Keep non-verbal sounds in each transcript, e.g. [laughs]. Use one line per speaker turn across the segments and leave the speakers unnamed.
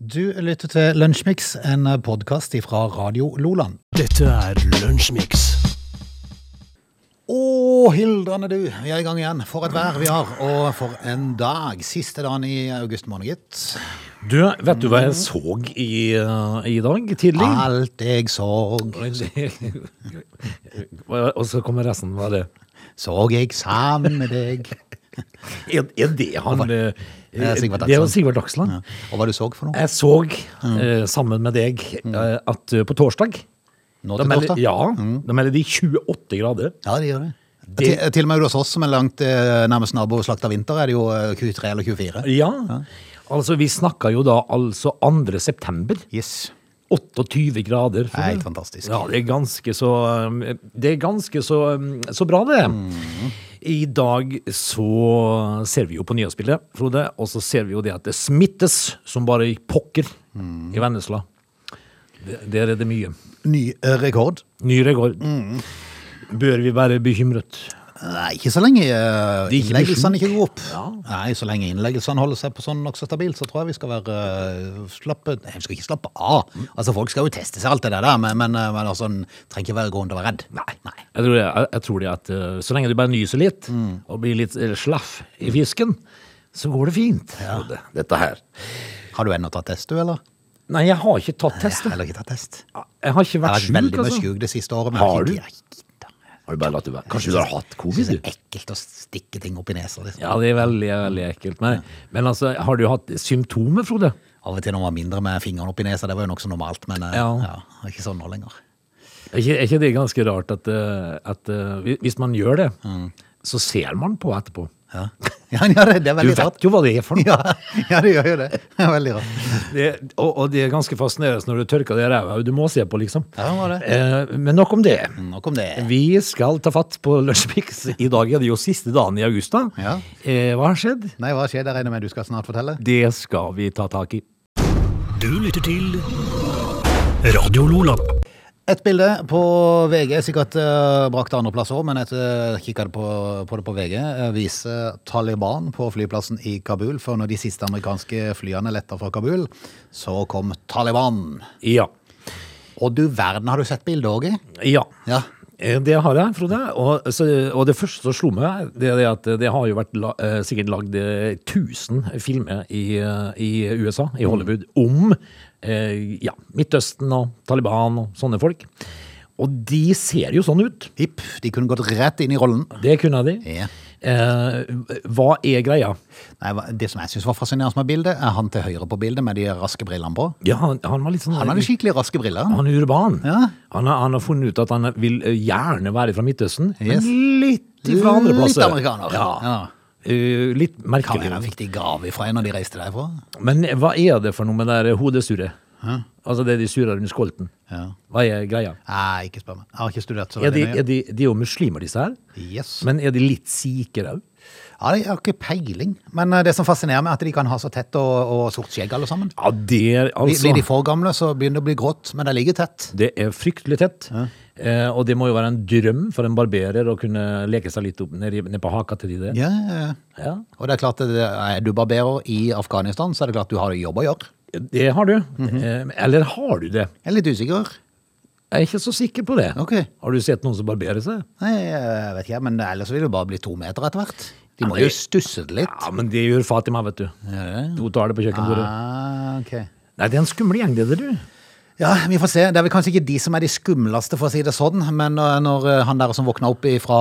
Du lytter til Lunsjmix, en podkast fra Radio Loland.
Dette er Lunsjmix.
Å, Hildane du, vi er i gang igjen. For et vær vi har, og for en dag. Siste dagen i august måned, gitt.
Du, vet du hva jeg så i, eh, i dag tidlig?
Alt jeg så,
[laughs] Og så kommer resten av det.
så jeg sammen med deg.
Er, er det han eh,
Eh, Sigvard
Det er jo
Dagsland.
Sigvard Dagsland.
Ja. Mm. Og hva du så for noe?
Jeg så, eh, sammen med deg, eh, at eh, på torsdag
Mm. Nå
da
til
melder-
torsdag? Mm.
Ja, da melder de 28 grader.
Ja, det gjør det.
Det-
Til, til og med hos oss som er langt eh, nærmest nabo og slakt av vinter, er det jo eh, 23 eller 24.
Ja. Altså, vi snakka jo da altså 2. september.
Yes.
28 grader.
Det er helt fantastisk.
Ja, det er ganske så um, Det er ganske så, um, så bra, det. Mhm. I dag så ser vi jo på nyhetsbildet, Frode, og så ser vi jo det at det smittes som bare i pokker i Vennesla. Det- Der er det mye.
Ny eh, rekord.
Ny rekord. Bør vi være bekymret?
Nei, ikke så lenge eh,
De er ikke
innleggelsene
bekymret.
ikke går opp.
Ja.
Nei, så lenge innleggelsene holder seg på sånn nokså stabilt, så tror jeg vi skal være eh, slappe Nei, vi skal ikke slappe av. Altså, folk skal jo teste seg alt det der, men, men, eh, men altså, en trenger ikke være grunn til å være redd. Nei.
Jeg tror det, jeg, jeg tror det at eh, så lenge du bare nyser litt, og blir litt eh, slaff i fisken, så går det fint. Frode, Dette her.
Har du ennå tatt test, du, eller?
Nei, jeg har ikke tatt test.
Heller ikke tatt test. Jeg
Jeg har ikke
har
vært
vært
sjuk,
veldig mye
altså.
sjuk det siste året. Men
Har
jeg
du?
gidder- jeg gidder.
Har du bare latt det være? Kanskje du har hatt
Jeg synes
covid,
det
du?
er ekkelt å stikke ting opp i nesa. Liksom.
Ja, det er veldig, veldig ekkelt. Men, men altså, har du hatt symptomer, Frode?
Av og til når man var mindre med fingeren opp i nesa, det var jo nokså normalt, men eh,
Ja.
ja, det er ikke sånn nå lenger.
Er ikke, er ikke det ganske rart at, eh, at eh, hvi- hvis man gjør det, så ser man på etterpå?
Ja, [laughs] ja, ja det, det er
Du
veldig rart.
vet jo hva det er for
[laughs]
noe.
Ja, ja, det gjør jo det. Det er veldig rart.
[laughs] Det, og, og det er ganske fascinerende når du tørker det i ræva. Du må se på, liksom.
Ja, det må det.
Eh, men nok om det.
Nok om det.
Vi skal ta fatt på Lunsjpix. I dag er det jo siste dagen i august. da.
Ja.
Eh, hva har skjedd?
Nei, hva skjer? Jeg regner med du skal snart fortelle.
Det skal vi ta tak i.
Du lytter til Radio Lola.
Et bilde på VG, sikkert uh, brakt andreplass òg, men jeg uh, kikka på, på det på VG, eh, viser Taliban på flyplassen i Kabul. For når de siste amerikanske flyene letta fra Kabul, så kom Taliban.
Ja.
Og du verden, har du sett bildet, Åge?
Ja.
Ja.
Eh, Det har jeg, Frode. Og, så, og det første som slo meg, det er det at det har jo vært la, eh, sikkert lagd eh, 1000 filmer i, eh, i USA, i Hollywood, om eh, ja, Midtøsten og Taliban og sånne folk. Og de ser jo sånn ut.
Hipp. De kunne gått rett inn i rollen.
Det kunne de.
Ja.
Eh, hva er greia?
Nei, hva- det som jeg syns var fascinerende med bildet, er han til høyre på bildet med de raske brillene på.
Ja, han, han var litt sånn
Han hadde skikkelig raske briller.
han er urban.
Ja.
Han, har, han har funnet ut at han vil eh, gjerne være fra Midtøsten,
Yes.
men litt fra andre
Litt
plasser.
amerikaner.
Ja.
Ja.
Eh, litt
Kan
merkelig.
hende han fikk de gave ifra en når de reiste derfra.
Men hva er det for noe med det der hodesurret? Altså det de surrer rundt skolten.
Ja.
Hva er greia?
Nei, ikke spør meg. Jeg har ikke studert så
Er de,
veldig
er de, de er jo muslimer, disse her.
mye. Yes.
Men er de litt sikere òg?
Ja, Jeg har ikke peiling, men eh, det som fascinerer meg, er at de kan ha så tett og, og sort skjegg alle sammen.
Ja, det er
Blir-
altså
Blir de for gamle, så begynner det å bli grått, men det ligger tett.
Det er fryktelig tett. Eh, og det må jo være en drøm for en barberer å kunne leke seg litt opp ned, i- ned på haka til de der.
Ja, ja, ja.
Ja.
Og det er klart, det er er du barberer i Afghanistan, så er det klart du har jobb å gjøre.
Det har du. eh, eller har du det?
Jeg er litt usikker.
Jeg er ikke så sikker på det.
Ok.
Har du sett noen som barberer seg?
Nei, jeg vet ikke, men ellers vil det bare bli to meter etter hvert. De
Ja,
må
men-
jo stusse det litt.
Ja, men det gjør Fatima, vet du.
Ja, det.
Hun tar det på kjøkkenbordet.
Ah, ok.
Nei, det er en skummel gjeng, det der, du.
Ja, vi får se. Det er vel kanskje ikke de som er de skumleste, for å si det sånn, men eh, når eh, han der som våkna opp ifra,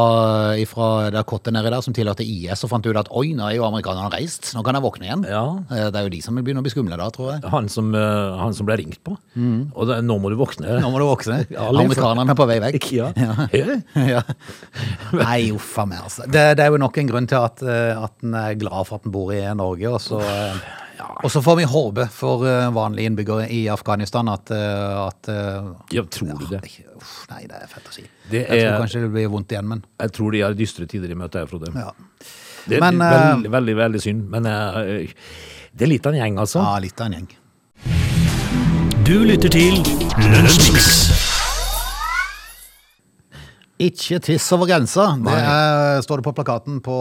ifra det kottet nedi der, som tilhørte IS, så fant du ut at oi, nå er jo amerikanerne reist, nå kan jeg våkne igjen.
Ja.
Eh, Det er jo de som vil begynne å bli skumle da, tror jeg.
han som, eh, han som ble ringt på. Og da, nå må du våkne.
Mm. Nå må du våkne.
[laughs] Ja, liksom.
Amerikanerne er på vei vekk.
[laughs] Ja. Hæ?
Ja. Nei, uffa meg, altså. Det, det er jo nok en grunn til at, eh, at en er glad for at en bor i Norge. Og så, eh, og så får vi håpe for eh, vanlige innbyggere i Afghanistan at, eh, at eh,
Ja, tror du det?
Ikke- Uff, nei, det er fett å si.
Det
Jeg tror
er-
kanskje det blir vondt igjen, men
Jeg tror de har dystre tider i møte her, Frode.
ja.
Det er
Men,
veldig, veldig, veldig synd. Men eh, det er litt av en gjeng, altså.
ja, Ah, litt av en gjeng.
Du lytter til Lunsjmix.
Ikke tiss over grensa. Det er, står det på plakaten på,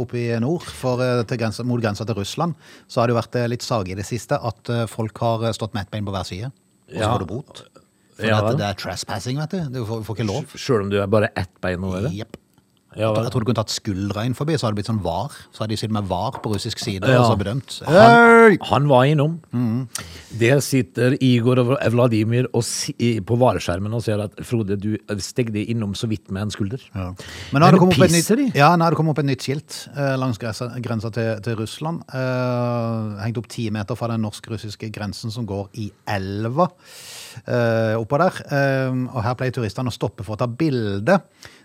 oppe i nord. For eh, til grensa, mot grensa til Russland så har det jo vært eh, litt sage i det siste at eh, folk har eh, stått med ett bein på hver side. Og så
Ja.
får du bot. For
Ja vel.
at det er trespassing, vet du. Du får, får ikke lov.
Sjøl om du er bare ett bein over det?
Jepp.
Ja,
Jeg tror du kunne tatt skuldra inn forbi, så hadde det blitt sånn var. Så hadde de sittet med var på russisk side
Ja.
og så bedømt.
Han, han var innom.
Mm.
Der sitter Igor og Vladimir og si, på vareskjermen og ser at Frode, du steg det innom så vidt med en skulder.
Ja. Men nå har det kommet opp et
pisser
nytt,
de?
ja, nå har det kommet opp et nytt skilt eh, langs grensa, grensa til, til Russland. Eh, hengt opp ti meter fra den norsk-russiske grensen som går i elva eh, oppå der. Eh, og her pleier turistene å stoppe for å ta bilde.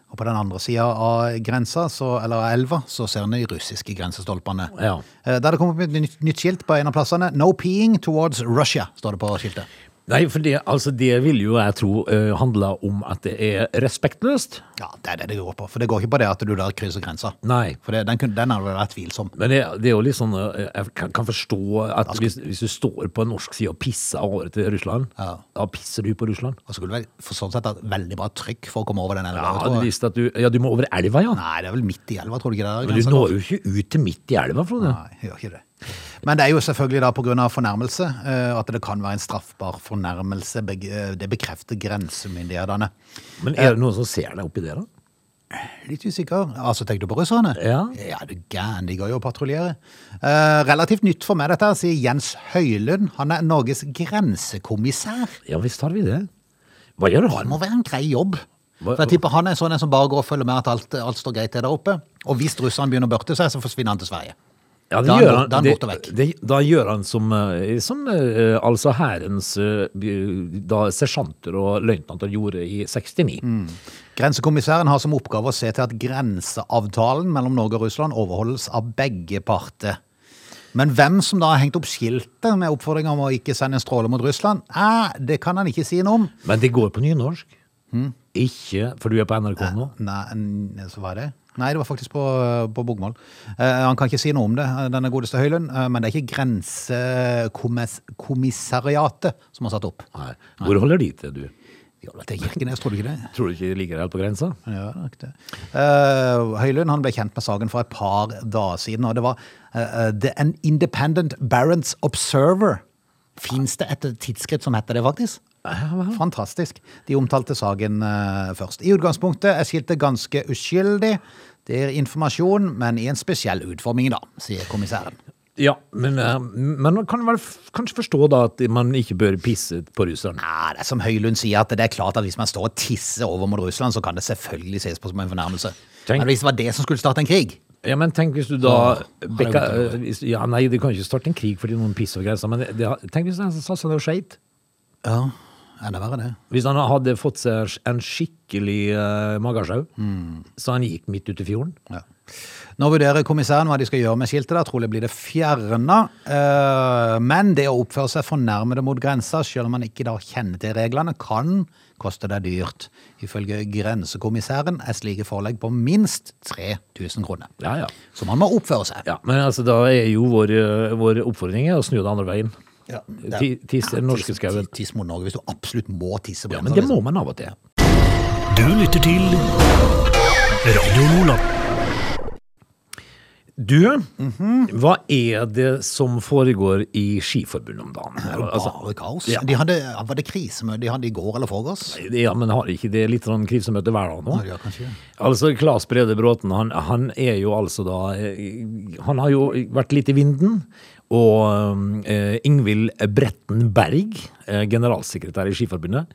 Og på den andre sida av grensa, så, eller av elva, så ser en de russiske grensestolpene.
Ja.
Eh, der det kommer opp et nytt, nytt skilt på en av plassene. 'No peeing towards Russia', står det på skiltet.
Nei, for det, altså, det vil jo jeg tro uh, handla om at det er respektløst.
Ja, det er det det går på. For det går ikke på det at du der krysser grensa.
Nei.
For det, den, kunne- den hadde vært tvilsom.
Men det, det er jo litt sånn eh, Jeg kan, kan forstå at hvis, hvis du står på en norsk side og pisser over til Russland,
Ja.
da pisser du på Russland.
Og så skulle du vel for sånn sett hatt veldig bra trykk for å komme over den elva.
Ja,
tror
du
jeg.
visste at du, ja, du må over elva, ja.
Nei, det er vel midt i elva, tror du ikke det? er
Men du
grensa går?
når jo ikke ut til midt i elva, Frode.
Nei, gjør ikke det. Men det er jo selvfølgelig da pga. fornærmelse eh, at det kan være en straffbar fornærmelse. Beg- eh, Det bekrefter grensemyndighetene.
Men er det noen som ser deg oppi der, da?
Litt usikker. Altså, tenker du på russerne?
Ja.
Ja, du gæren, de går jo og patruljerer. Eh, relativt nytt for meg dette, her, sier Jens Høylund. Han er Norges grensekommissær.
Ja visst har vi det. Hva gjør
Det
han?
må være en grei jobb.
Hva-
For jeg tipper han er sånn en som bare går og følger med at alt, alt står greit til der oppe. Og hvis russerne begynner å børte seg, så forsvinner han til Sverige.
Ja, det
Da er han
gjør
bort-
han-
da er han
det-
borte vekk.
det- Da gjør han som, eh, som eh, altså hærens eh, da sersjanter og løytnanter gjorde i 69.
Mm. Grensekommissæren har som oppgave å se til at grenseavtalen mellom Norge og Russland overholdes av begge parter. Men hvem som da har hengt opp skiltet med oppfordring om å ikke sende en stråle mot Russland, eh, det kan han ikke si noe om.
Men det går på nynorsk. Ikke For du er på NRK nå?
Mm. Nei, n- så var det Nei, det var faktisk på, på bokmål. Eh, han kan ikke si noe om det, eh, denne godeste Høylund, eh, men det er ikke grensekommissariatet som har satt opp.
Nei. Hvor holder de til, du?
Jo, det er Kirkenes, tror du ikke det?
Tror du ikke de ligger helt på grensa?
Ja, det er nok det. Eh, Høylund han ble kjent med saken for et par dager siden, og det var eh, eh, The An Independent Barents Observer. Fins det et tidsskritt som heter det, faktisk? Fantastisk. De omtalte saken eh, først. I utgangspunktet er skiltet ganske uskyldig. Det er informasjon, men i en spesiell utforming, da, sier kommissæren.
Ja, men, eh, men man kan vel f- kanskje forstå da at man ikke bør pisse på russerne.
Nei, Ah, det er som Høylund sier, at det er klart at hvis man står og tisser over mot Russland, så kan det selvfølgelig ses på som en fornærmelse.
Tenk-
Men hvis det var det som skulle starte en krig
Ja, men tenk hvis du da
Åh,
Bekka,
har jeg
eh, hvis, Ja, nei, du kan ikke starte en krig fordi noen pisser over grensa, men det, det, tenk hvis den satt seg ned og skeit?
Ja, enda verre det.
Hvis han hadde fått seg en skikkelig uh, magesjau, så han gikk midt ute i fjorden.
Ja. Nå vurderer kommissæren hva de skal gjøre med skiltet. der. Trolig blir det fjerna. Eh, Men det å oppføre seg fornærmede mot grensa, selv om man ikke da kjenner til reglene, kan koste deg dyrt. Ifølge grensekommissæren er slike forelegg på minst 3000 kroner.
Ja, ja.
Så man må oppføre seg.
Ja, Men altså, da er jo vår, eh, vår oppfordring er å snu det andre veien.
Ja,
Ti- Tiss i den norske skauen.
Tiss mot Norge hvis du absolutt må tisse på
Ja,
grensa.
men det
liksom.
må man av og til.
Du lytter til Radio Lola.
Du, hva er det som foregår i Skiforbundet om dagen?
Det er jo
Altså,
bare kaos.
ja.
De hadde, var det krisemøte de hadde i går eller forgårs?
ja, men har ikke det litt sånn krisemøte hver dag nå?
Ja, kanskje det.
Altså, Claes Brede Bråten, han, han er jo altså da eh, Han har jo vært litt i vinden. Og eh, Ingvild Bretten Berg, eh, generalsekretær i Skiforbundet,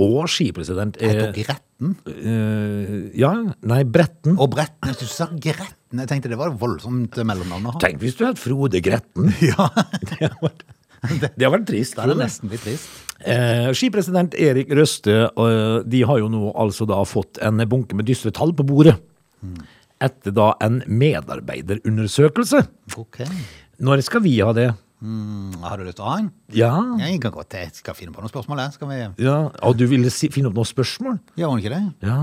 og skipresident
Heter
eh,
hun Gretten?
eh, Ja, nei, Bretten.
Og Bretten. Jeg synes du sa Gretten. Jeg tenkte det var et voldsomt mellomnavn å ha.
Tenk hvis du het Frode Gretten!
[laughs] Ja,
[laughs] Det har vært, det har vært trist.
da er det
Frode.
nesten litt trist.
Eh, skipresident Erik Røste eh, de har jo nå altså da fått en bunke med dystre tall på bordet. Etter da en medarbeiderundersøkelse.
Ok.
Når skal vi ha det?
Mm, har du lyst til å ha en?
Ja,
Jeg kan godt jeg skal finne på noen spørsmål. jeg. Skal vi
ja. Og du ville si, finne opp noen spørsmål?
Gjør hun ikke det?
Ja.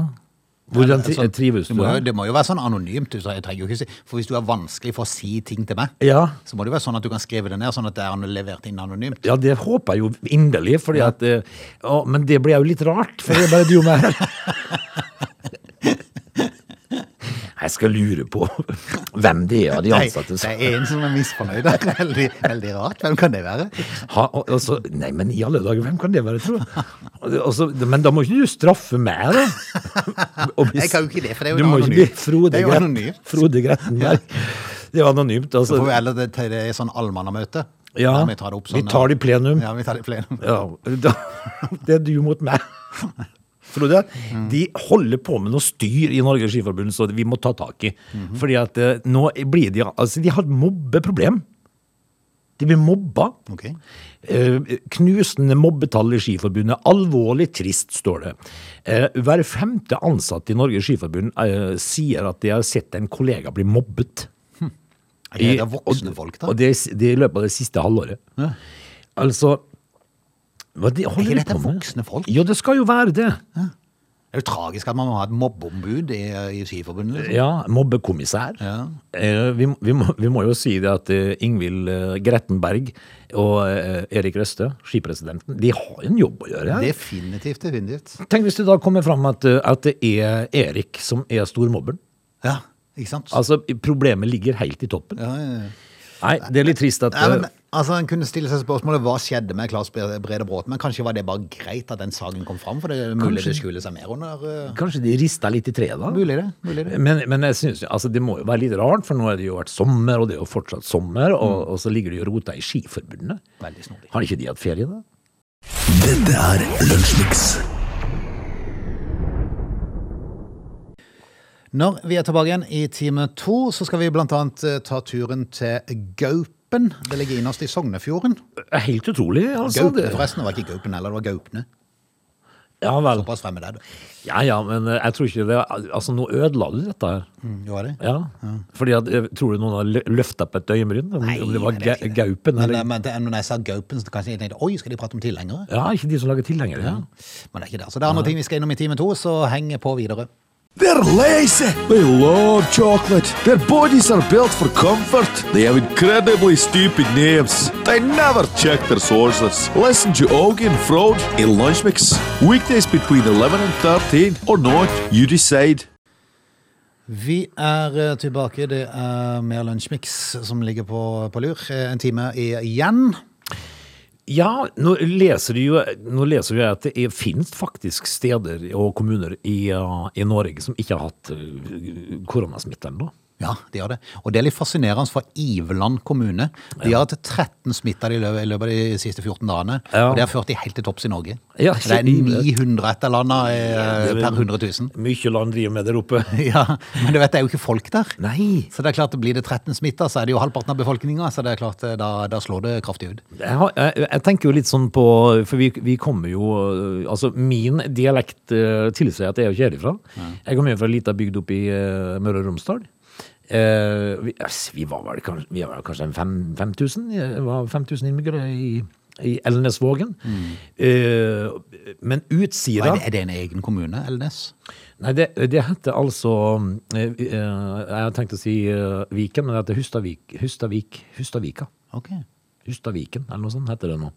Hvordan tri
Sånn-
trives
det
du?
må, jo,
da?
det må jo være sånn anonymt. du, så Jeg trenger jo ikke si. For hvis du er vanskelig for å si ting til meg,
Ja.
så må det jo være sånn at du kan skrive det ned, sånn at det er levert inn anonymt.
ja, det håper jeg jo
[laughs]
inderlig, fordi at eh, å, Men det ble jo litt rart, for det er bare du og meg her. Jeg skal lure på hvem det er av de
Nei,
ansatte
det
som
er en som er misfornøyd. Det er Veldig, veldig rart. Hvem kan det være?
ha, og, og så, Nei, men i alle dager, hvem kan det være, tror jeg? Og det- og så- men da må ikke du straffe meg, da. Og bli-
Jeg kan jo ikke det, for det er
Du
jo
må ikke bli
anonymt. Det
Frode
er jo
Gret-
anonymt.
Frode Grettenberg. Det er jo anonymt.
Får vi
Altså.
heller det til det i sånn allmannamøte?
Ja,
Der vi tar det opp sånn.
vi tar det i plenum.
Ja, vi tar det i plenum.
Ja, da, det er du mot meg. Frode, de holder på med noe styr i Norges Skiforbund, så vi må ta tak i.
Mhm.
Fordi at eh, nå blir de Altså, de har et mobbeproblem. De blir mobba.
Ok.
Eh, knusende mobbetall i Skiforbundet. Alvorlig trist, står det. Eh, hver femte ansatt i Norges Skiforbund eh, sier at de har sett en kollega bli mobbet.
Er det voksne folk, da?
Og det, det i løpet av det siste halvåret. Altså hva de holder
ikke
de
dette
på med?
voksne folk?
Jo, det skal jo være det.
Det er jo tragisk at man må ha et mobbeombud i, i Skiforbundet. Liksom.
Ja, mobbekommissær.
Ja.
Eh, Vi, vi, må, vi må jo si det at eh, Ingvild eh, Grettenberg og eh, Erik Røste, skipresidenten, de har en jobb å gjøre. her.
Definitivt, definitivt.
Tenk hvis det da kommer fram at, eh, at det er Erik som er stormobberen.
Ja, ikke sant?
Altså, problemet ligger helt i toppen.
Ja, ja, ja.
Nei, det er litt trist at
Nei, men,
eh,
altså, en kunne stille seg spørsmålet hva skjedde med Claes Bre- Brede Bråten, men kanskje var det bare greit at den saken kom fram, for det er mulig det skjuler seg mer under eh,
Kanskje de rista litt i treet, da?
Mulig det. mulig det.
Men, men jeg synes, jo- altså, det må jo være litt rart, for nå har det jo vært sommer, og det er jo fortsatt sommer, og,
Mm.
og så ligger de og roter i skiforbundene.
Veldig snodig.
Har ikke de hatt ferie, da?
Dette er Lunsjmix.
Når vi er tilbake igjen i time to, så skal vi blant annet eh, ta turen til Gaupen. Det ligger innerst i Sognefjorden.
Eh, Helt utrolig, altså.
Gaupen,
Det,
forresten, det var ikke Gaupen heller, det var Gaupene.
ja vel.
Såpass fremmed er det.
Ja ja, men eh, jeg tror ikke det Altså, nå ødela du dette her.
Mm, jo, er det.
Ja. Fordi at, eh, Tror du noen har løfta på et øyenbryn? Om, om det var
nei,
ga
er ikke det.
gaupen?
Men, eh,
Eller?
men, det- men når jeg sa Gaupen, så kanskje jeg tenkte oi, skal de prate om tilhengere?
Ja, ikke de som lager tilhengere. Ja.
Men det er ikke det. Så det er andre ting vi skal innom i time to, så heng på videre.
They're lazy. They love chocolate. Their bodies are built for comfort. They have incredibly stupid names. They never check their sources. Listen to Augie and Frode in Lunch Mix. Weekdays between 11 and 13 or not, you decide.
Vi er eh, tilbake. Det er mer Lunsjmix som ligger på, på lur. Eh, En time i- igjen.
Ja, nå leser, du jo, nå leser du at det er, finnes faktisk steder og kommuner i, uh, i Norge som ikke har hatt uh, koronasmitte ennå.
Ja, de gjør det. Og det er litt fascinerende for Iveland kommune. De har hatt 13 smitta i løpet, i løpet av de siste 14 dagene.
Ja.
Og det har ført de helt til topps i Norge.
Ja,
Så det er
så-
900 et eller annet eh,
det er-
per 100 000.
Mye land driver med der oppe.
[laughs] Ja, men du vet, det er jo ikke folk der.
Nei.
Så det er klart, blir det 13 smitta, så er det jo halvparten av befolkninga. Så det er klart, eh, da, da slår det kraftig ut.
Jeg, har, jeg, jeg tenker jo litt sånn på For vi, vi kommer jo uh, Altså, min dialekt uh, tilsier at jeg er jo ikke herifra. Jeg kommer jo fra ei lita bygd oppe i uh, Møre og Romsdal. Eh, vi, ass, vi var vel kanskje, vi var vel kanskje en fem- 5000 eh, var 5000 innbyggere i, i Elnesvågen. Eh, men utsida
Er det- er det en egen kommune, Elnes?
Nei, det, det heter altså eh, eh, Jeg hadde tenkt å si eh, Viken, men det heter Hustavik, Hustavik, Hustavika.
Ok.
Hustadviken, eller noe sånt heter det nå.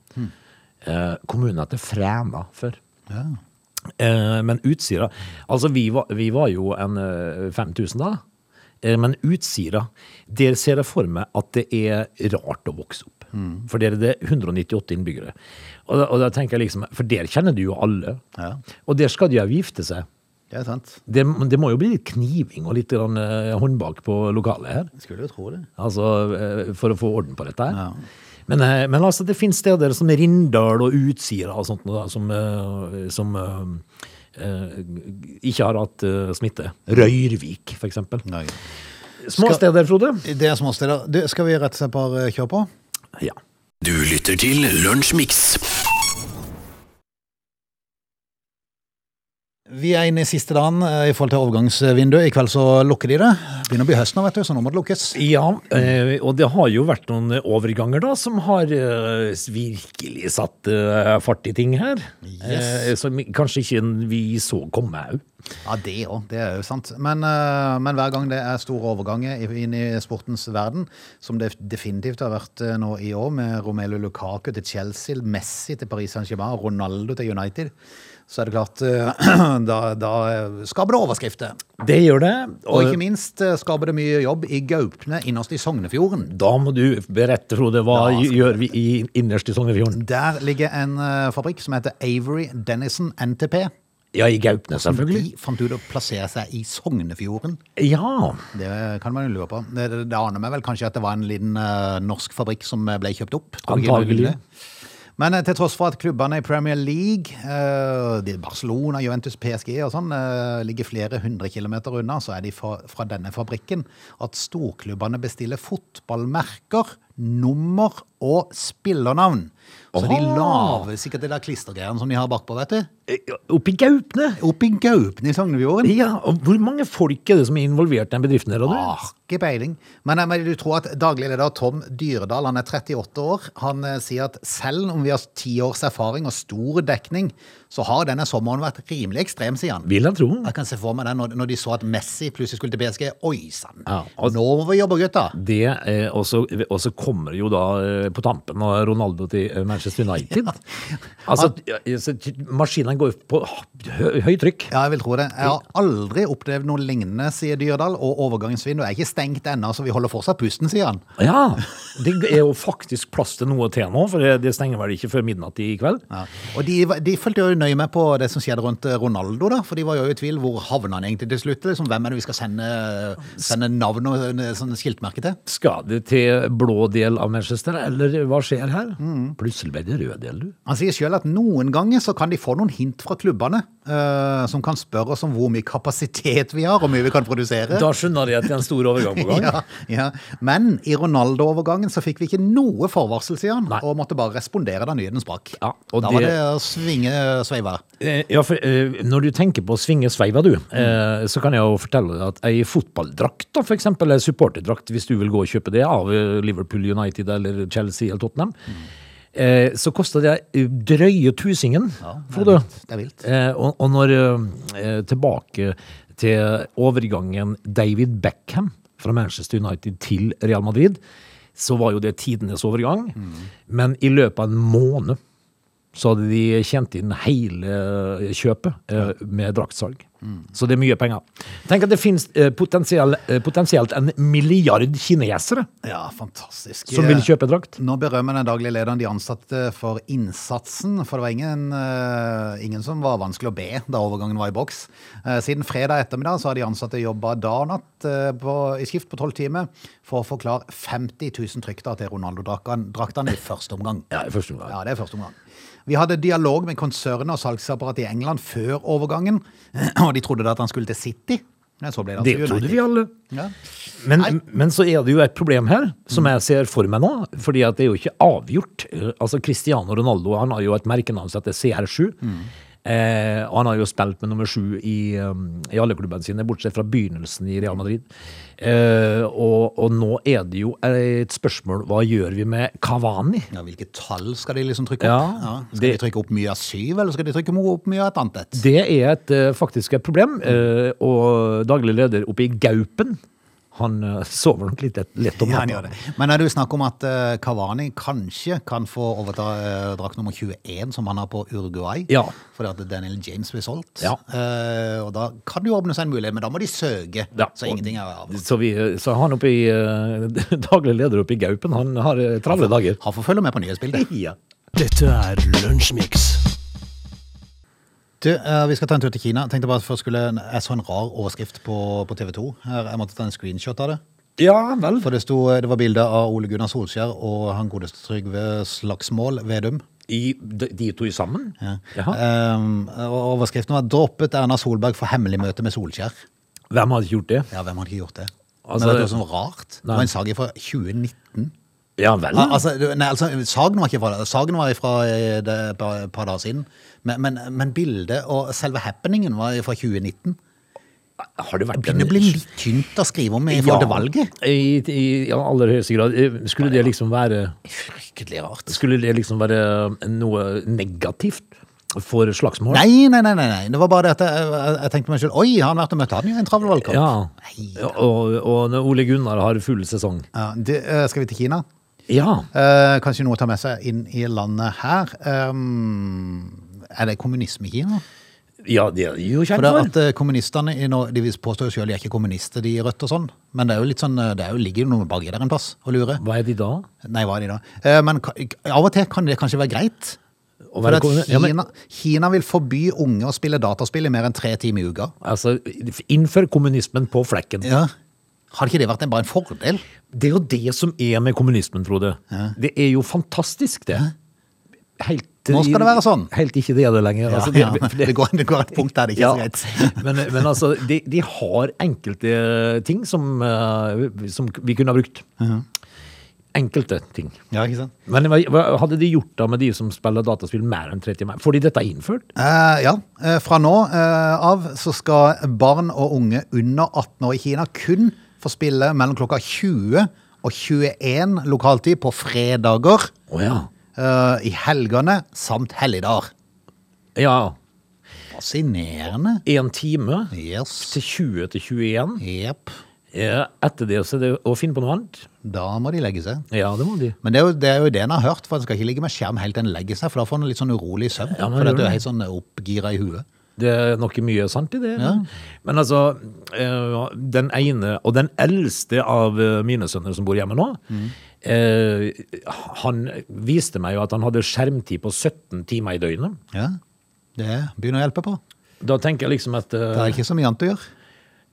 Eh, kommunen heter Fræna før.
Ja.
Eh, men Utsira Altså, vi var, vi var jo en eh, 5000 da. Eh, men Utsira, der ser jeg for meg at det er rart å vokse opp. For der er det 198 innbyggere. Og da, og da tenker jeg liksom For der kjenner du jo alle.
Ja.
Og der skal de jo gifte seg.
Det er sant.
Det, det må jo bli litt kniving og litt grann, eh, håndbak på lokalet her.
Skulle jo tro det.
Altså, eh, for å få orden på dette her.
Ja.
Men, eh, men altså, det finnes steder som Rindal og Utsira og sånt, noe da, som, eh, som eh, eh, ikke har hatt eh, smitte. Røyrvik, for eksempel.
Nei.
Små
Skal-
steder, Frode.
Det er småsteder. Du, skal vi rett og slett bare kjøre på?
Ja.
Du lytter til Lunsjmix.
Vi er inne i siste dagen eh, i forhold til overgangsvinduet. I kveld så lukker de det. Begynner å bli høst nå, vet du, så nå må det lukkes.
ja, eh, og det har jo vært noen overganger da, som har eh, virkelig satt eh, fart i ting her.
Yes.
Eh, som kanskje ikke vi så komme òg.
Ja, det òg. Det er jo sant. Men, eh, men hver gang det er store overganger i- inn i sportens verden, som det definitivt har vært eh, nå i år, med Romelu Lukaku til Chelsea, Messi til Paris Saint-Germain, Ronaldo til United, så er det klart eh, [clears throat] Da, da skaper det overskrifter.
Det gjør det.
Og ikke minst eh, skaper det mye jobb i Gaupne innerst i Sognefjorden.
da må du berette, Frode, hva
Ja, skal-
gjør vi i innerst i Sognefjorden?
Der ligger en eh, fabrikk som heter Avery Dennison NTP.
Ja, i Gaupne, selvfølgelig.
De fant ut å plassere seg i Sognefjorden.
Ja.
Det kan man jo lure på. Det, det, det aner meg vel kanskje at det var en liten eh, norsk fabrikk som eh, ble kjøpt opp. Tror du ikke det er
Antagelig.
mulig? Men eh, til tross for at klubbene i Premier League, eh, de- Barcelona, Juventus, PSG og sånn, eh, ligger flere hundre kilometer unna, så er de fra, fra denne fabrikken at storklubbene bestiller fotballmerker, nummer og spillernavn. Så de
Åh!
lager sikkert det der klistergreiene som de har bakpå, vet du.
Eh, Oppe i Gaupne.
Oppe i Gaupne i Sognefjorden.
Ja, og Hvor mange folk er det som er involvert i den bedriften? her, Odd?
Har ikke peiling. Men, eh, men du tror at daglig leder Tom Dyredal, han er 38 år, han eh, sier at selv om vi har ti års erfaring og stor dekning, så har denne sommeren vært rimelig ekstrem, sier han.
Vil jeg tro.
Jeg kan se for meg det når, når de så at Messi plutselig skulle til PSG. Oi sann!
Ja, og-
Nå må vi jobbe, gutta!
Det, eh, og så og så kommer jo da eh, på tampen og Ronaldo til eh, Manchester United. Altså, ja, så t- maskinene går på hø- høyt trykk.
Ja, jeg vil tro det. Jeg har aldri opplevd noe lignende, sier Dyredal. Og overgangsvinduet er ikke stengt ennå, så vi holder fortsatt pusten, sier han.
Ja, det er jo faktisk plass til noe til nå, for det stenger vel ikke før midnatt i kveld.
Ja. Og de, var- de fulgte jo nøye med på det som skjedde rundt eh, Ronaldo, da. For de var jo i tvil. Hvor havna han egentlig til slutt? Liksom, hvem er det vi skal sende, sende navn og eh, sånne skiltmerke til?
Skal det til blå del av Manchester, eller hva skjer her? Plutselig ble det rød del, du.
Han sier sjøl at noen ganger så kan de få noen hint fra klubbene, eh, som kan spørre oss om hvor mye kapasitet vi har, og hvor mye vi kan produsere.
Da skjønner de at det er en stor overgang på [laughs] gang.
[laughs] Ja, ja. Men i Ronaldo-overgangen så fikk vi ikke noe forvarsel, sier han,
Nei.
og måtte bare respondere da nyheten sprakk.
Ja, og
da
det-
var det å svinge sveiver.
Eh, Ja, for eh, når du tenker på svingesveiva, du, eh, så kan jeg jo fortelle deg at ei fotballdrakt, da, for eksempel, ei supporterdrakt, hvis du vil gå og kjøpe det av eh, Liverpool United eller Chelsea eller Tottenham,
Mm.
eh, så koster det eh, drøye tusingen, Frode.
vilt. Det er vilt.
Eh, og, og når eh, eh, tilbake til overgangen David Beckham fra Manchester United til Real Madrid, så var jo det tidenes overgang. Men i løpet av en måned så hadde de tjent inn hele kjøpet eh, med draktsalg. Så det er mye penger. Tenk at det finnes eh, potensiell, eh, potensielt en milliard kinesere
Ja, fantastisk.
som vil kjøpe drakt.
Nå berømmer den daglige lederen de ansatte for innsatsen, for det var ingen, eh, ingen som var vanskelig å be da overgangen var i boks. Eh, siden fredag ettermiddag så har de ansatte jobba dag og natt eh, på, i skift på tolv timer for å forklare 50 000 trykk da til Ronaldo-draktene i første omgang.
Ja, i første omgang.
Ja, det er første omgang. Vi hadde dialog med konsernet og salgsapparatet i England før overgangen, [clears throat] og de trodde da at han skulle til City. Men så ble det,
Det
altså
trodde
United.
vi alle.
Ja.
Men, men så er det jo et problem her, som jeg ser for meg nå. fordi at det er jo ikke avgjort. Eh, Altså Cristiano Ronaldo han har jo et merkenavn som heter CR7. Eh, og han har jo spilt med nummer sju i, um, i alle klubbene sine, bortsett fra begynnelsen i Real Madrid. Eh, og, og nå er det jo et spørsmål hva gjør vi med Kavani?
Ja, Hvilke tall skal de liksom trykke opp?
Ja,
Ja, skal
det-
de trykke opp mye av syv, eller skal de trykke mo- opp mye av et annet? et?
Det er et, eh, faktisk et problem. eh, og daglig leder oppe i Gaupen, han eh, sover nok litt lett om
Ja,
natta.
han gjør det. Men er det jo snakk om at eh, Cavani kanskje kan få overta eh, drakt nummer 21, som han har på Uruguay?
Ja.
Fordi at Daniel James blir solgt.
Ja.
Eh, og da kan det jo åpne seg en mulighet, men da må de søke.
Ja,
Så
og-
ingenting er av.
Så, vi, så han oppe i eh, [laughs] daglig leder oppe i Gaupen, han har eh, travle dager.
Han får følge med på nyhetsbildet.
Ja.
Dette er Lunsjmix.
Du, eh, vi skal ta en tur til Kina. Tenkte bare at først skulle Jeg så en rar overskrift på, på TV 2. Jeg måtte ta en screenshot av det.
vel.
For det, sto, det var bilde av Ole Gunnar Solskjær og han godeste Trygve Slagsmål Vedum.
I, de, de to sammen?
Ja.
Jaha.
Ehm, og overskriften var 'Droppet Erna Solberg for hemmelig møte med Solskjær'.
Hvem hadde ikke gjort det?
Ja, hvem hadde ikke gjort det?
Altså,
Men vet du
det-
hva som var rart? Det
Nei.
var en sag fra 2019.
Ja vel.
Al- Altså, du- nei, altså, sagen var ikke fra det. Sagen var fra eh, det et par, par dager siden. Men, men, men bildet og selve happeningen var fra 2019.
har det vært
Begynner å bli litt tynt å skrive om i forhold til valget.
I, i ja, aller høyeste grad. Eh, Skulle det liksom være
Fryktelig rart.
Skulle det liksom være noe negativt? for slagsmål.
Nei, nei, nei, nei, nei. Det var bare det at jeg, jeg, jeg tenkte meg selv Oi, har han vært og møtt han i en travel valgkamp?
Ja.
Nei.
Og, og når Ole Gunnar har full sesong.
Ja, det, eh, skal vi til Kina?
Ja.
Eh, kanskje noe å ta med seg inn i landet her. Ehm, er det kommunisme i Kina?
ja, det er de jo
For
kjent
det
for.
er at eh, kommunisterne i Norge, de påstår jo selv de er ikke kommunister, de i Rødt og sånn. Men det er jo litt sånn, eh, det er jo, ligger jo noe baki der en plass og lurer.
Hva er de da?
Nei, hva er de da? Eh, men ka- av og til kan det kanskje være greit.
Å
For
være
at
kommuni- ja,
Kina,
men-
Kina vil forby unge å spille dataspill i mer enn tre timer i uka.
Altså, innfør kommunismen på flekken.
Ja. Hadde ikke det vært en, bare en fordel?
Det er jo det som er med kommunismen, Frode. Det er jo fantastisk, det. Helt, til-
Nå skal det være sånn.
Helt ikke det er det lenger. altså,
ja, ja. det, går, det går et punkt der det ikke er så
[laughs]
greit.
men, men altså, de, de har enkelte ting som, eh, som vi kunne ha brukt. Enkelte ting.
Ja, ikke sant?
Men hva, hva hadde de gjort da med de som spiller dataspill mer enn 30 timer? Får de dette innført?
Eh, ja, eh, fra nå eh, av så skal barn og unge under 18 år i Kina kun få spille mellom klokka 20 og 21 lokaltid på fredager,
Å ja.
eh, i helgene samt helligdager.
Ja.
Fascinerende.
Én time
Yes.
til 20 til 21.
Jepp.
Eh, Etter det så er det å finne på noe annet.
Da må de legge seg.
Ja, det må de.
Men det er jo, det er jo det en har hørt, for en skal ikke ligge med skjerm helt til en legger seg, for da får en litt sånn urolig søvn.
Ja, men
for
det
at du
gjør
er
det.
helt sånn oppgira i huet.
Det er nok mye sant i det. Men altså, eh, den ene og den eldste av eh, mine sønner som bor hjemme nå,
Mm.
eh, han viste meg jo at han hadde skjermtid på 17 timer i døgnet.
Ja, det begynner å hjelpe på.
Da tenker jeg liksom at
Det er
eh,
ikke så mye annet å gjøre.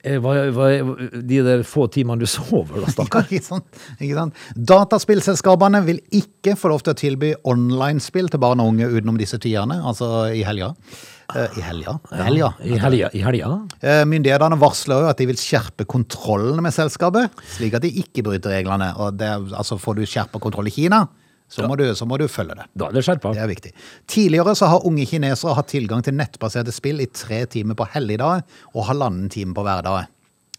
eh, hva, hva, De der få timene du [laughs] sover,
Ja,
da, stakkar.
ikke sant? Ikke sant? Dataspillselskapene vil ikke få lov til å tilby online-spill til barn og unge utenom disse tiderne, altså i helga. Eh, I helga? helga.
I helga. I helga.
Eh, Myndighetene varsler jo at de vil skjerpe kontrollen med selskapet, slik at de ikke bryter reglene. Og det, er- altså Får du skjerpa kontroll i Kina, så må, du, så må du følge det.
Da er det skjerpa.
Det er viktig. Tidligere så har unge kinesere hatt tilgang til nettbaserte spill i tre timer på helligdager og halvannen time på hverdager.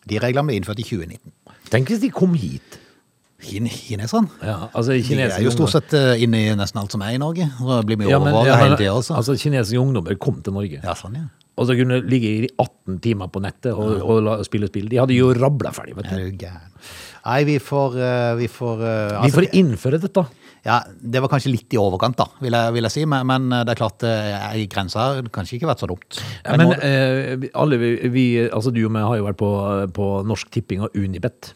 De reglene ble innført i 2019.
Tenk hvis de kom hit.
Kin Kineserne?
Ja, altså,
De er jo stort sett eh, inne i nesten alt som er i Norge. Og det blir mye
ja, men,
overvåket
ja, men,
hele tida også.
altså, kinesiske ungdommer kom til Norge.
ja, sånn, ja.
Og så kunne de ligge i 18 timer på nettet og, og la, spille spill. De hadde jo rabla ferdig. vet
Er
du.
du gæren. Nei, vi får, eh, vi får, eh,
Vi
altså,
får innføre dette.
ja, Det var kanskje litt i overkant, da, vil jeg, vil jeg si. Men, men det er klart, eh, ei grense her hadde kanskje ikke vært så dumt. Men
Men
nå-
eh, vi- alle vi, vi, altså du og meg har jo vært på, på Norsk Tipping og Unibet.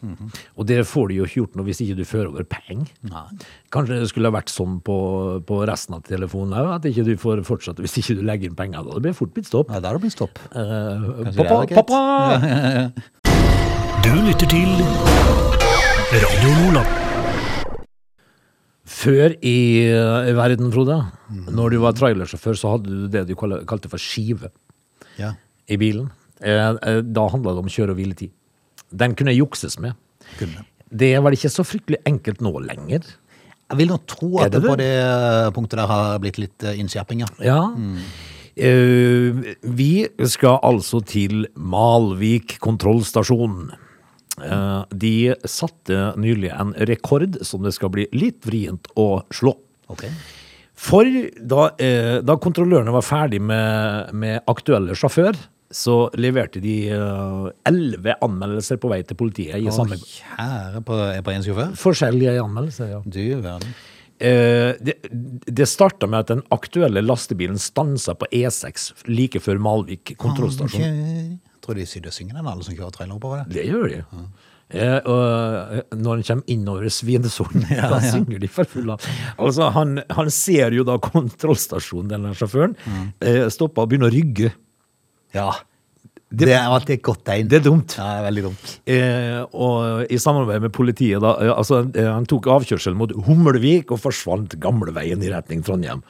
Og det får du jo ikke gjort noe hvis ikke du fører over penger.
Nei.
Kanskje det skulle ha vært sånn på, på resten av telefonen òg, at ikke du får fortsette hvis ikke du legger inn penger. Da blir det fort blitt stopp.
ja, der har det blitt stopp.
Eh,
Kanskje
pappa,
det er greit.
pappa!
Du lytter til Radio Lola.
Før i eh, verden, Frode, når du var trailersjåfør, så hadde du det du kalte kalte for skive.
Ja.
i bilen. Eh, eh, Da handla det om kjøre- og hviletid. Den kunne jukses med.
Kunne.
Det er vel ikke så fryktelig enkelt nå lenger.
Jeg vil nå tro
Er
at
det
det på
det?
det eh, punktet der har blitt litt eh, innskjerping, ja.
Ja. Eh, Vi skal altså til Malvik kontrollstasjon. Eh, De satte nylig en rekord som det skal bli litt vrient å slå.
Ok.
For da, eh, da kontrollørene var ferdig med, med aktuelle sjåfør, så leverte de eh, elleve anmeldelser på vei til politiet i samme
Å, Kjære på, på en sjåfør.
Forskjellige anmeldelser, ja.
Du verden.
Eh, det det starta med at den aktuelle lastebilen stansa på E6 like før Malvik kontrollstasjon.
Kjære. Tror de Sydøstsingen er alle som kjører trailer oppover der?
Det gjør de. Eh, og når han kommer innover Svinesund, da synger de for full av Altså, han, han ser jo da kontrollstasjonen, den der sjåføren, eh, stopper og begynner å rygge.
Ja. Det, er alltid et godt tegn.
Det er dumt.
Ja, det er veldig dumt.
Eh, og i samarbeid med politiet, da, eh, altså, eh, han tok avkjørsel mot Hummelvik og forsvant gamleveien i retning Trondheim.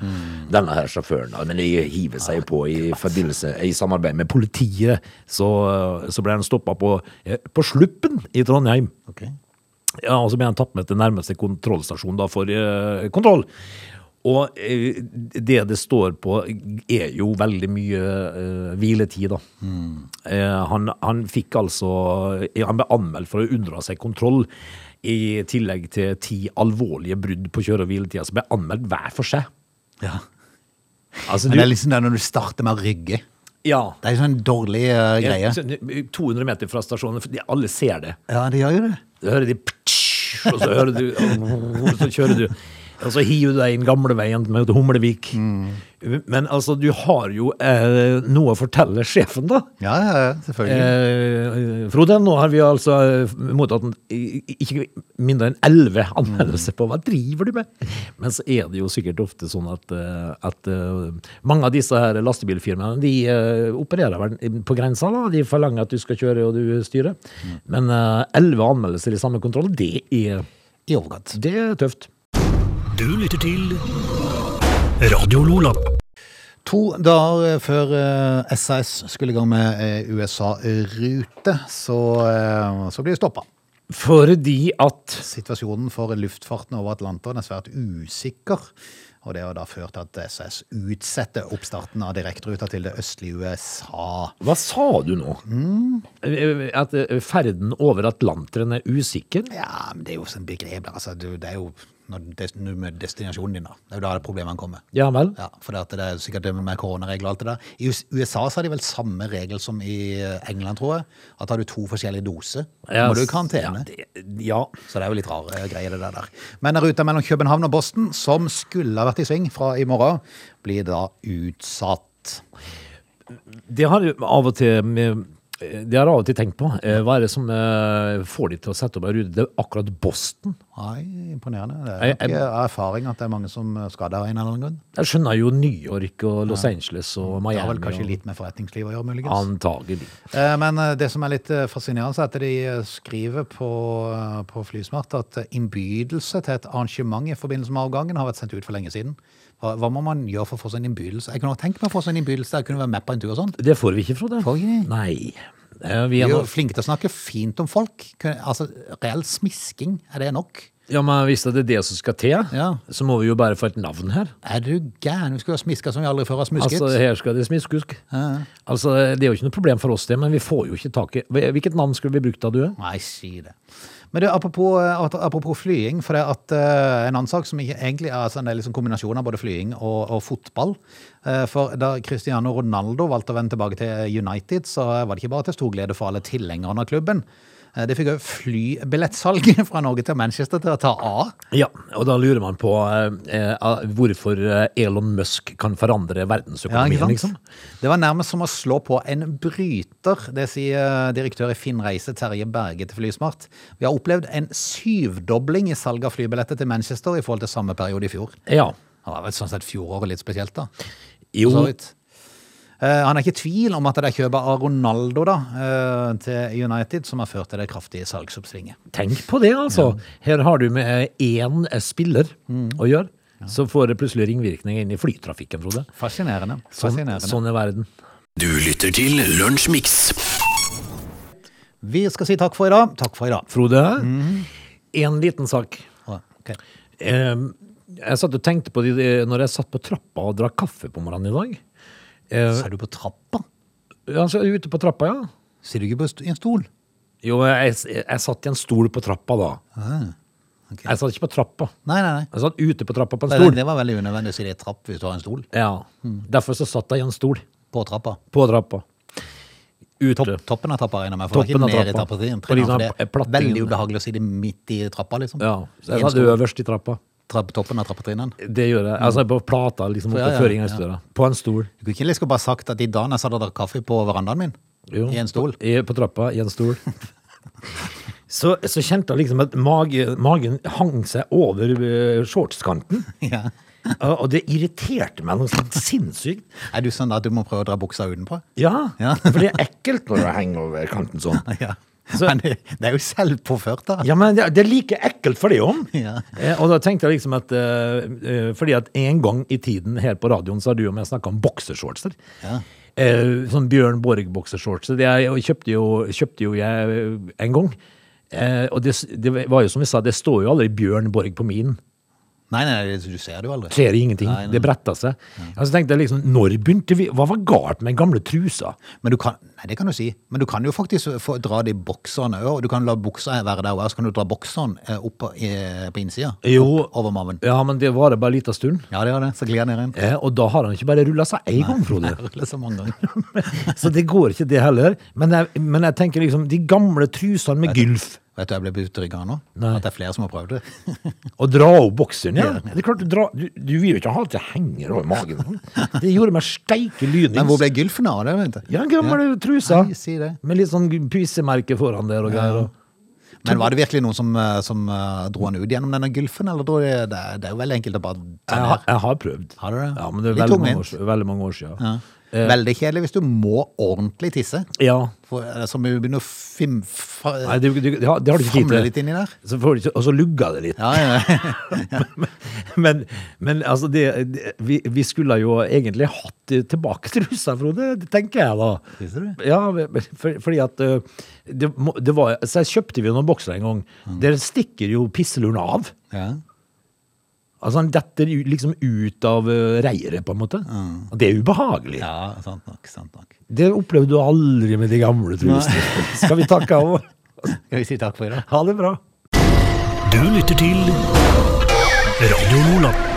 Denne her sjåføren, da, men de hiver seg på i forbindelse, i samarbeid med politiet, så, eh, så ble han stoppa på, eh, på Sluppen i Trondheim.
Ok.
Ja, og så ble han tatt med til nærmeste kontrollstasjon da for eh, kontroll. Og eh, det det står på er jo veldig mye eh, hviletid da. Eh, han, han fikk altså, han ble anmeldt for å unndra seg kontroll i tillegg til ti alvorlige brudd på kjøre- og hviletida som ble anmeldt hver for seg.
Ja.
Altså,
Men det er
du,
liksom det når du starter med å rygge.
ja.
Det er en sånn dårlig eh, greie.
200 meter fra stasjonen, for de- alle ser det.
Ja, det gjør jo det.
Du hører de ptsj, og så hører du og så kjører du. Og så hiver du deg inn gamleveien mot Humlevik. Men altså, du har jo eh, noe å fortelle sjefen, da.
Ja, ja, ja, selvfølgelig.
Eh, Frode, nå har vi altså eh, mottatt en- i- i- ikke mindre enn elleve anmeldelser på hva driver du med? Men så er det jo sikkert ofte sånn at, eh, at eh, mange av disse her lastebilfirmaene de eh, opererer vel på grensa. da, De forlanger at du skal kjøre og du styrer. Men eh, elleve anmeldelser i samme kontroll, det er,
I overkant.
det er tøft.
Du lytter til Radio Lola.
To dager før eh, SAS skulle i gang med eh, USA-rute, så, eh, så blir det stoppa.
Fordi at
Situasjonen for luftfarten over Atlanteren er svært usikker. Og det har da ført til at SAS utsetter oppstarten av direkteruta til det østlige USA.
Hva sa du nå? Eh, At eh, ferden over Atlanteren er usikker?
Ja, men det er jo sånn begrep. da. Altså, du- det er jo når des- når du møter destinasjonen din, da. Det er jo da det problemene kommer.
Ja vel?
Ja, for det, at det er sikkert det med koronaregler og alt det der. I US- USA så har de vel samme regel som i eh, England, tror jeg. At har du to forskjellige doser, så må du i karantene.
Ja, det, ja.
Så det er jo litt rare greier det der. Men ruta mellom København og Boston, som skulle ha vært i sving fra i morgen, blir da utsatt.
Det har jeg av og til med- det har jeg av og til tenkt på. Eh, Hva er det som eh, får de til å sette opp en rute? Det er akkurat Boston.
Nei, imponerende. Det er
Jeg-
nok eh, erfaring at det er mange som eh, skader av en eller annen grunn.
Jeg skjønner jo New York og Los Angeles og
Det
Miami.
har vel kanskje
og-
litt med forretningsliv å gjøre, muligens.
Antagelig.
Eh, Men eh, det som er litt eh, fascinerende, er at de eh, skriver på, eh, på Flysmart at eh, innbydelse til et arrangement i forbindelse med avgangen har vært sendt ut for lenge siden. Hva, hva må man gjøre for å få sånn innbydelse? Jeg kunne nok tenkt meg å få sånn innbydelse der jeg kunne være med på en tur og sånn.
Det får vi ikke, Frode.
Får vi ikke?
Nei. Eh, Vi
Vi
er
er jo
nå-
flinke til å snakke fint om folk. Kun- Altså, Reell smisking, er det nok?
ja, men hvis det er det som skal til,
Ja.
så må vi jo bare få et navn her.
Er du gæren? Vi skulle ha smiska som vi aldri før har smusket.
Altså, her skal det smiskusk. Altså, det er jo ikke noe problem for oss det, men vi får jo ikke tak i Hvilket navn skulle vi brukt da, du?
Nei, si det. Men du, apropos, eh, at- apropos flying, for det at eh, en annen sak som ikke egentlig er altså, en del liksom kombinasjon av både flying og, og fotball. Eh, for da Cristiano Ronaldo valgte å vende tilbake til United, så var det ikke bare til stor glede for alle tilhengerne av klubben. Eh, det fikk òg flybillettsalget [laughs] fra Norge til Manchester til å ta av.
Ja, og da lurer man på eh, eh, hvorfor eh, Elon Musk kan forandre verdensøkonomien, liksom.
Det var nærmest som å slå på en bryter, det sier eh, direktør i Finnreise Terje Berge til Flysmart. Vi har opplevd en syvdobling i salg av flybilletter til Manchester i forhold til samme periode i fjor.
Ja.
Det var vel sånn sett fjoråret litt spesielt, da.
Jo,
For så vidt. Eh, han er ikke i tvil om at det er kjøpet av Ronaldo da, eh, til United som har ført til det kraftige salgsoppsvinget.
tenk på det, altså. Her har du med eh, én eh, spiller å gjøre, så får det plutselig ringvirkninger inn i flytrafikken, Frode.
Fascinerende.
Sånn,
Fascinerende.
sånn er verden.
Du lytter til Lunsjmix.
Vi skal si takk for i dag. Takk for i dag.
Frode, en liten sak.
Ok.
Eh, jeg satt og tenkte på det eh, når jeg satt på trappa og drakk kaffe på morgenen i dag. Eh,
Så er du på trappa.
altså, ute på trappa, ja.
Sitter du ikke på st- i en stol?
Jo, jeg, jeg satt i en stol på trappa da.
Ah, ok.
Jeg satt ikke på trappa.
Nei, nei, nei.
Jeg satt ute på trappa på en
Nei,
stol.
Det var veldig unødvendig å si det er trapp hvis du har en stol
Ja.
Hmm.
Derfor så satt jeg i en stol
på trappa.
på trappa. Ute.
Topp, toppen av trappa, regner jeg med. For det
Toppen
var
av
ikke ned i
trappa.
trappa. til en
På liksom
trener, for det
plattingen.
er veldig ubehagelig å si det midt i trappa, liksom.
Ja. Så
I
jeg
en
satt
stol.
øverst i trappa.
Trapp, toppen av trappetrinnen. Du
Det gjør jeg. Altså på plata, liksom,
Ja,
oppe
ja,
før
ja.
inngangsdøra. På en stol.
kunne ikke liksom bare sagt at i dag når jeg satt og drakk kaffe på verandaen min,
Jo.
i en stol. [laughs]
I, på trappa, i en stol. [laughs] Så, så kjente jeg liksom at mage, magen hang seg over eh, shortskanten.
Ja.
Og og det irriterte meg noe sånt sinnssykt.
Er du sånn da at du må prøve å dra buksa utenpå? [laughs]
Ja,
Ja.
[laughs] for det er ekkelt når det henger over kanten sånn.
[laughs] Ja.
Så-
Men det, det er jo selvpåført, da.
Ja, men det, det er like ekkelt for det om.
[laughs] Ja.
Eh, og da tenkte jeg liksom at eh, eh, Fordi at en gang i tiden her på radioen så har du og jeg snakka om boksershortser.
Ja.
Eh, sånn Bjørn Borg-boksershortser. Det er- jeg kjøpte jo, kjøpte jo jeg eh, en gang. Eh, og det, s- det var jo som vi sa, det står jo aldri Bjørn Borg på min.
Nei, nei, nei, du ser det jo aldri.
Skjer ingenting.
Nei, nei.
Det bretta seg. Og så tenkte jeg liksom, når begynte vi Hva var galt med den gamle trusa?
Men du kan Nei, Nei, det kan du si. Men du kan jo faktisk få dra de bokserne òg. Du kan la buksa være der, og så kan du dra bokseren eh, opp eh, på innsida.
Jo.
Opp over maven.
Ja, men det varer bare en liten stund.
Ja, det gjør det. Så glir den ned igjen.
Eh, og da har han ikke bare rulla seg én gang, Frode.
Jeg ruller så mange ganger.
Så det går ikke, det heller. Men jeg, men jeg tenker liksom de gamle trusene med gylf.
[laughs] Vet du hva jeg ble utrygg av nå?
Nei.
At det er flere som har prøvd det.
Og dra opp bokseren igjen. Det er klart, du, drar- du, du vil jo ikke ha at det henger over magen. Det gjorde meg steike
Men hvor
lynings.
ble gylfen av det? Vet du?
Ja, gamle trusa.
Nei, si det.
Med litt sånn pysemerke foran der og greier. og-
Men var det virkelig noen som, eh, som eh, dro han ut gjennom denne gylfen, eller dro det, det, er- det er jo veldig enkelt å bare ta
Jeg,
den
har-
her.
jeg har prøvd.
Har du det?
Ja, men det er
Litt
veldig mange, år,
tungvint.
siden- veldig mange år siden. Ja.
Veldig kjedelig hvis du må ordentlig tisse. For, eh, som jo begynner å fim... Fa,
Nei, du, du, det har det har du ikke tid
famle
til.
litt inni der.
Så får du ikke- og så lugga det litt.
Ja, ja,
[laughs]
ja.
Men, men altså, det, det, vi, vi skulle jo egentlig hatt eh, tilbake trusa, Frode. Det tenker jeg da.
Synes du det?
Ja, men- for, fordi at eh, det, må- det var, Så kjøpte vi jo noen bokser en gang. Der stikker jo pisseluren av.
ja.
Altså Han detter jo liksom ut av eh, reiret, på en måte. Og Det er ubehagelig.
ja sant nok. sant nok.
Det opplevde du aldri med de gamle trusene. Skal vi takke av?
Skal vi si takk for i dag?
Ha det bra.
Du lytter til Radio Lola.